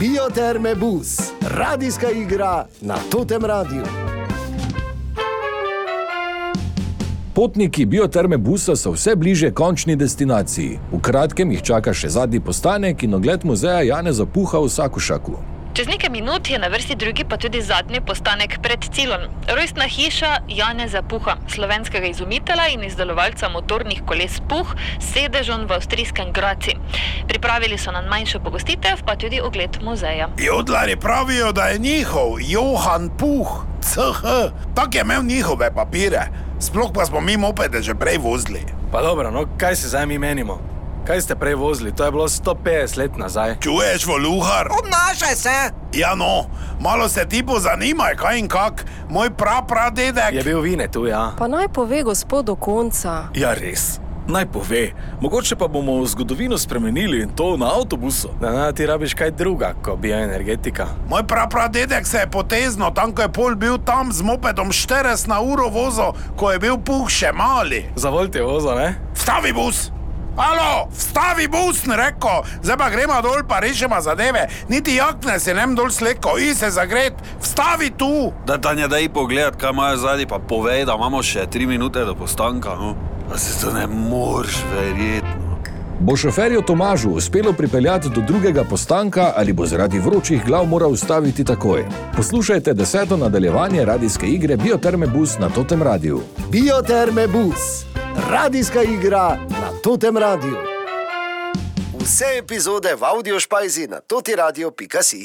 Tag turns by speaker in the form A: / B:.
A: Bioterme Bus, radijska igra na Totem Radiju.
B: Potniki bioterme busa so vse bliže končni destinaciji. V kratkem jih čaka še zadnji postanek in ogled muzeja Jana Zapuha v Sakušaku.
C: Čez nekaj minut je na vrsti drugi, pa tudi zadnji postanek pred cilom. Rojstna hiša Jana Zapuha, slovenskega izumitelja in izdelovalca motornih koles Puh, s sedežem v avstrijskem Graci. Pripravili so nam manjšo pogostitev, pa tudi ogled muzeja.
D: Jodlari pravijo, da je njihov Johan Puh, CH, tak je imel njihove papire. Sploh pa smo mi mopede že prej vozili.
E: Pa dobro, no kaj se zdaj mi menimo? Kaj ste prej vozili? To je bilo 150 let nazaj.
D: Čuješ, voluhar?
F: Obnašaj se!
D: Ja, no, malo se ti pozanimaj, kaj in kak, moj prapradedek.
E: Je bil vine tu, ja.
G: Pa naj pove gospod do konca.
H: Ja, res. Naj pove, mogoče pa bomo zgodovino spremenili in to na avtobusu.
E: Da ne, ti rabiš kaj druga, kot bioenergetika.
D: Moj prapradedek se je potezno, tam ko je pol bil tam z mopedom 40 na uro vozo, ko je bil Puh še mali.
E: Zavolite vozo, ne?
D: Vstavi bus! Alo, vstavi bus, ne reko, zdaj pa gremo dol, pa rešimo zadeve, niti jakne se nem dol sleko, in se zagret, vstavi tu!
I: Da, Tanja, daj pogled, kaj imajo zadnji, pa povej, da imamo še tri minute do postanka. No. A se to ne moreš verjetno.
B: Bo šoferju Tomažu uspelo pripeljati do drugega postanka ali bo zaradi vročih glav moral ustaviti takoj? Poslušajte deseto nadaljevanje radijske igre Bioterme Bus na Totem Radiju.
A: Bioterme Bus, radijska igra na Totem Radiju. Vse epizode v audio špajzi na totiradio.si.